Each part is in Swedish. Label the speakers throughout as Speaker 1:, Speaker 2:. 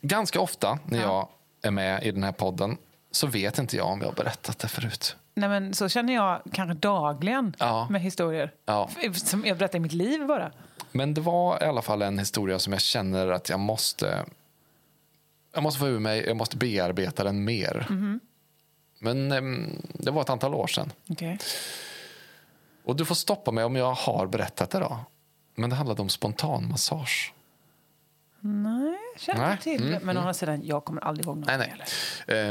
Speaker 1: Ganska ofta när jag är med i den här podden så vet inte jag om jag har berättat det förut.
Speaker 2: Nej, men så känner jag kanske dagligen
Speaker 1: Ja.
Speaker 2: med historier.
Speaker 1: Ja.
Speaker 2: F- Som jag berättar i mitt liv bara.
Speaker 1: Men det var i alla fall en historia som jag känner att jag måste jag måste få ur mig, jag måste bearbeta den mer. Men em, det var ett antal år sedan.
Speaker 2: Okej.
Speaker 1: Och du får stoppa mig om jag har berättat det då. Men det handlade om spontanmassage.
Speaker 2: Nej, jag känner
Speaker 1: Nej. Mm,
Speaker 2: inte till det. Men å andra sidan, jag kommer aldrig ihåg något.
Speaker 1: Nej, nej.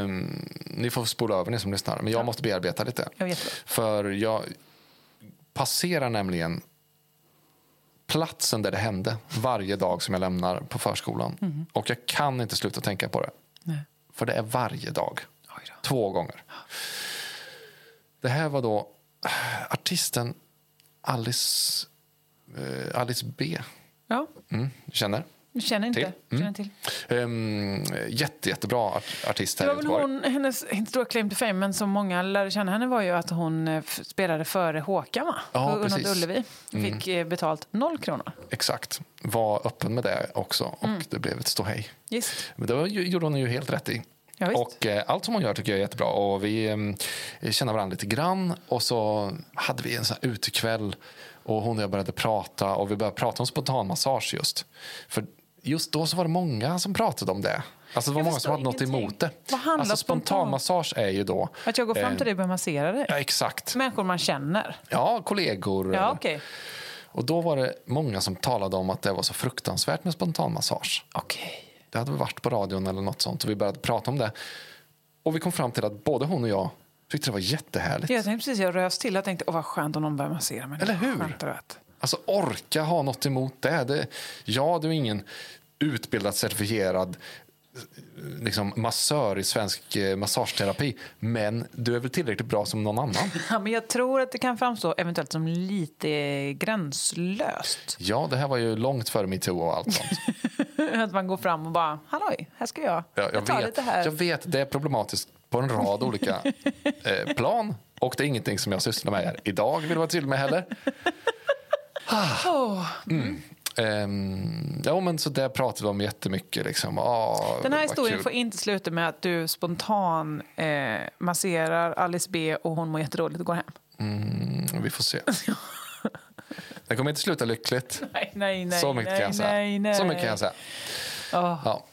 Speaker 1: Em, Ehm, ni får spola över ni som lyssnar. Men jag måste bearbeta lite.
Speaker 2: Jag vet.
Speaker 1: För jag passerar nämligen platsen där det hände varje dag som jag lämnar på förskolan.
Speaker 2: Mhm.
Speaker 1: Och jag kan inte sluta tänka på det.
Speaker 2: Nej.
Speaker 1: För det är varje dag.
Speaker 2: Oj då.
Speaker 1: Två gånger. Det här var då artisten Alice, eh, Alice B.
Speaker 2: Ja,
Speaker 1: Mm, du känner?
Speaker 2: jag känner inte.
Speaker 1: Till. Mm.
Speaker 2: Känner till.
Speaker 1: Um, jätte, jättebra art- artist
Speaker 2: Det
Speaker 1: här i
Speaker 2: var väl
Speaker 1: Göteborg.
Speaker 2: hon, hennes, inte då claim to fame, men som många lärde känna henne var ju att hon eh, f- spelade före Håkan va?
Speaker 1: Ja,
Speaker 2: På Unnat
Speaker 1: precis. Mm.
Speaker 2: Ullevi. Fick eh, betalt noll kronor.
Speaker 1: Exakt. Var öppen med det också och
Speaker 2: Mm.
Speaker 1: det blev ett ståhej.
Speaker 2: Just.
Speaker 1: Men det var, ju- gjorde hon ju helt rätt i.
Speaker 2: Ja, visst.
Speaker 1: och eh, allt som hon gör tycker jag är jättebra. Och vi em, känner varandra lite grann och så hade vi en sån här utekväll och hon och jag började prata och vi började prata om spontanmassage just. För just då så var det många som pratade om det. Alltså det var
Speaker 2: Jag
Speaker 1: många som
Speaker 2: förstår
Speaker 1: hade något
Speaker 2: ingenting.
Speaker 1: emot det.
Speaker 2: Vad handlar
Speaker 1: alltså
Speaker 2: spontan-
Speaker 1: spontanmassage är ju då...
Speaker 2: Att jag går fram
Speaker 1: eh,
Speaker 2: till dig och börjar massera dig.
Speaker 1: Ja, exakt.
Speaker 2: Människor man känner.
Speaker 1: Ja, kollegor.
Speaker 2: Ja, okej.
Speaker 1: Och då var det många som talade om att det var så fruktansvärt med spontanmassage.
Speaker 2: Okej.
Speaker 1: Det hade väl varit på radion eller något sånt och vi började prata om det. Och vi kom fram till att både hon och jag tyckte det var jättehärligt.
Speaker 2: Jag tänkte precis, jag rös till. Jag tänkte, åh vad skönt om någon börjar massera mig.
Speaker 1: Eller hur?
Speaker 2: Skönt, vet.
Speaker 1: Alltså orka ha något emot det. det ja, du är ingen utbildad, certifierad eh, liksom, massör i svensk eh, massageterapi. Men du är väl tillräckligt bra som någon annan?
Speaker 2: Ja, men jag tror att det kan framstå eventuellt som lite gränslöst.
Speaker 1: Ja, det här var ju långt före metoo och allt sånt.
Speaker 2: att man går fram och bara, halloj, här ska jag.
Speaker 1: Ja,
Speaker 2: jag tar
Speaker 1: vet,
Speaker 2: lite här.
Speaker 1: jag vet, det är problematiskt på en rad olika eh, plan. Och det är ingenting som jag sysslar med här idag, vill jag vara tydlig med heller.
Speaker 2: Ah.
Speaker 1: Ah. Mm.
Speaker 2: Åh.
Speaker 1: Ehm, ja, men så där pratade vi om jättemycket. Liksom. Ah,
Speaker 2: Den här
Speaker 1: vad
Speaker 2: historien
Speaker 1: kul.
Speaker 2: får inte sluta med att du spontan eh, masserar Alice B och hon mår jättedåligt och går hem.
Speaker 1: Mm, vi får se. Det kommer inte sluta lyckligt.
Speaker 2: Nej, nej, nej.
Speaker 1: så, mycket
Speaker 2: nej,
Speaker 1: kan jag säga.
Speaker 2: Nej, Ah. nej.
Speaker 1: så mycket kan jag säga.
Speaker 2: Åh.
Speaker 1: Ja.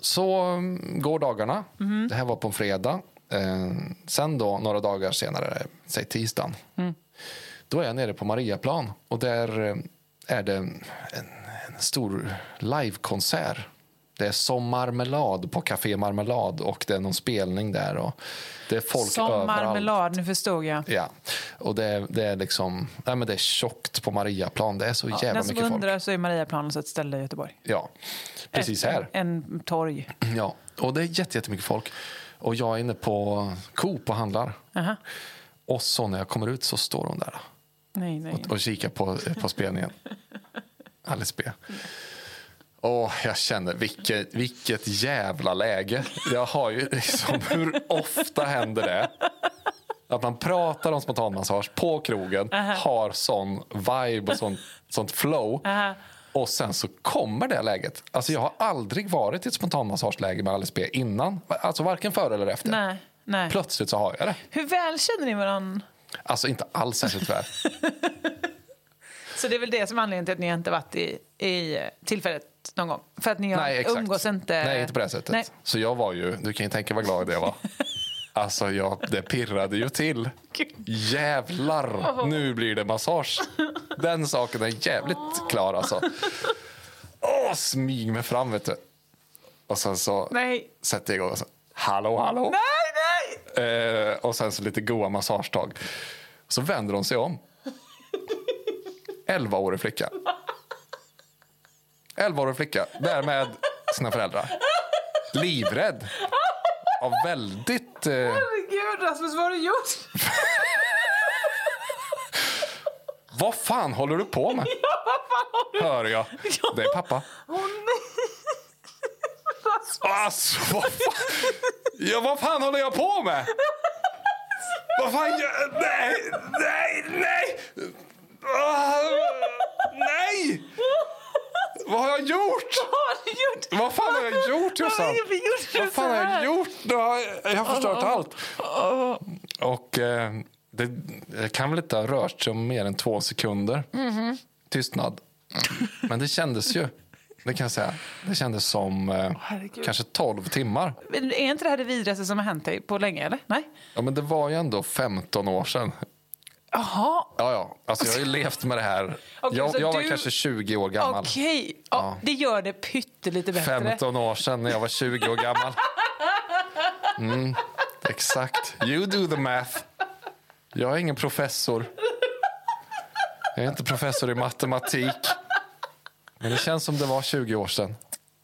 Speaker 1: Så mm, går dagarna.
Speaker 2: Mhm.
Speaker 1: Det här var på en fredag. Ehm, sen då, några dagar senare, säg tisdagen,
Speaker 2: Mm.
Speaker 1: då är jag nere på Mariaplan och där eh, är det en, en stor livekonsert. Det är som marmelad på Café Marmelad och det är någon spelning där. Och det är folk
Speaker 2: Som
Speaker 1: överallt.
Speaker 2: marmelad, nu förstod jag.
Speaker 1: Ja, och det är, det är liksom, nej men det är tjockt på Mariaplan. Det är så jävla
Speaker 2: Den som
Speaker 1: mycket folk.
Speaker 2: undrar så är Mariaplan alltså ett ställe i Göteborg.
Speaker 1: Ja, precis
Speaker 2: Ett-
Speaker 1: här.
Speaker 2: En torg.
Speaker 1: Ja, och det är jätte- jättemycket folk. Och jag är inne på Coop och handlar.
Speaker 2: Aha.
Speaker 1: Och så när jag kommer ut så står hon där
Speaker 2: Nej, nej.
Speaker 1: och kikar på, på spelningen. Alice B. Åh, jag känner vilket, vilket jävla läge. Jag har ju liksom, hur ofta händer det? Att man pratar om spontanmassage på krogen, har sån vibe och sånt, sånt flow.
Speaker 2: Aha.
Speaker 1: Och sen så kommer det läget. Alltså jag har aldrig varit i ett spontanmassageläge med Alice B innan. Alltså varken före eller efter.
Speaker 2: Nej, nej.
Speaker 1: Plötsligt så har jag det.
Speaker 2: Hur väl känner ni varandra?
Speaker 1: Alltså inte alls särskilt väl.
Speaker 2: Så det är väl det som är anledningen till att ni inte varit i, i eh, tillfället någon gång? För att ni har-
Speaker 1: Nej, exakt.
Speaker 2: umgås inte?
Speaker 1: Nej, inte på det sättet.
Speaker 2: Nej.
Speaker 1: Så jag var ju, du kan ju tänka vad glad jag var. Alltså jag, det pirrade ju till. Jävlar, nu blir det massage. Den saken är jävligt klar alltså. Åh, smyg mig fram vet du. Och sen så
Speaker 2: Nej.
Speaker 1: sätter jag igång och så, hallå, hallå.
Speaker 2: Nej, nej!
Speaker 1: Eh, och sen så lite goa massagetag. Så vänder hon sig om. 11-årig flicka. 11-årig flicka, där med sina föräldrar. Livrädd. Ja, väldigt... Eh,
Speaker 2: Herregud, Rasmus, vad har du gjort?
Speaker 1: Vad fan håller du på med?
Speaker 2: Ja, vad fan har du?
Speaker 1: Hör jag.
Speaker 2: Ja.
Speaker 1: Det är pappa.
Speaker 2: Åh nej! Alltså,
Speaker 1: Alltså, vad fan? Ja, vad fan håller jag på med? Vad fan gör... Nej, nej, nej! Ah, nej! Vad har jag gjort?
Speaker 2: vad har du gjort?
Speaker 1: Vad fan har jag gjort, Jossan?
Speaker 2: Varför gjorde du
Speaker 1: Vad
Speaker 2: så
Speaker 1: fan har
Speaker 2: här?
Speaker 1: jag gjort? Nu har Jag, jag har förstört allt. Och eh, det, det kan väl inte ha rört sig om mer än två sekunder.
Speaker 2: Mhm.
Speaker 1: Tystnad. Men det kändes ju. Det kan jag säga. Det kändes som eh,
Speaker 2: herregud.
Speaker 1: kanske 12 timmar.
Speaker 2: Men Är inte det här det vidraste som har hänt dig på länge? eller? Nej?
Speaker 1: Ja, men det var ju ändå 15 år sedan.
Speaker 2: Jaha,
Speaker 1: Ja, ja. Alltså, jag har ju levt med det här.
Speaker 2: Okej,
Speaker 1: jag
Speaker 2: så
Speaker 1: jag var
Speaker 2: du-
Speaker 1: kanske 20 år gammal.
Speaker 2: okej. Ja, Det gör det pyttelite bättre.
Speaker 1: 15 år sedan när jag var 20 år gammal. Mm, exakt. You do the math. Jag är ingen professor. Jag är inte professor i matematik. Men det känns som det var 20 år sedan.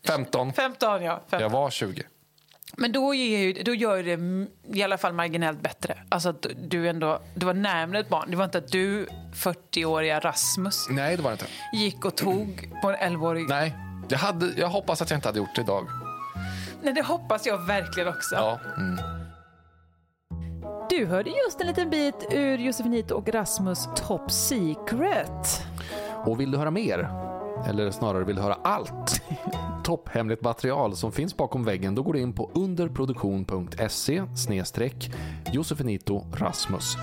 Speaker 1: 15.
Speaker 2: 15, ja. 15.
Speaker 1: Jag var 20.
Speaker 2: Men då, ger ju, då gör ju det mm, i alla fall marginellt bättre. Alltså att du ändå, du var närmare ett barn. Det var inte att du, 40-åriga Rasmus,
Speaker 1: Nej, det var det inte.
Speaker 2: gick och tog på en 11-årig... Nej.
Speaker 1: Nej. Jag, hade, jag hoppas att jag inte hade gjort det idag.
Speaker 2: det hoppas jag verkligen också.
Speaker 1: Ja. Mm.
Speaker 3: Du hörde just en liten bit ur Josefinito och Rasmus Top Secret.
Speaker 1: Och vill du höra mer? Eller snarare vill du höra allt? Topphemligt material som finns bakom väggen då går du in på underproduktion.se Josefinito Rasmus.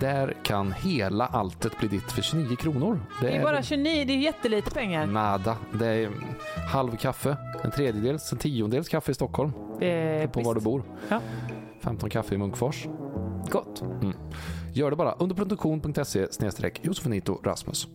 Speaker 1: Där kan hela alltet bli ditt för 29 kronor.
Speaker 3: Det är bara 29, det är jättelite pengar.
Speaker 1: nada. Det är halv kaffe, en tredjedels, en tiondels kaffe i Stockholm
Speaker 3: Eh,
Speaker 1: på var du
Speaker 3: visst.
Speaker 1: bor.
Speaker 3: Ja.
Speaker 1: 15 kaffe i Munkfors.
Speaker 3: Gott.
Speaker 1: Gör det bara underproduktion.se Josefinito Rasmus.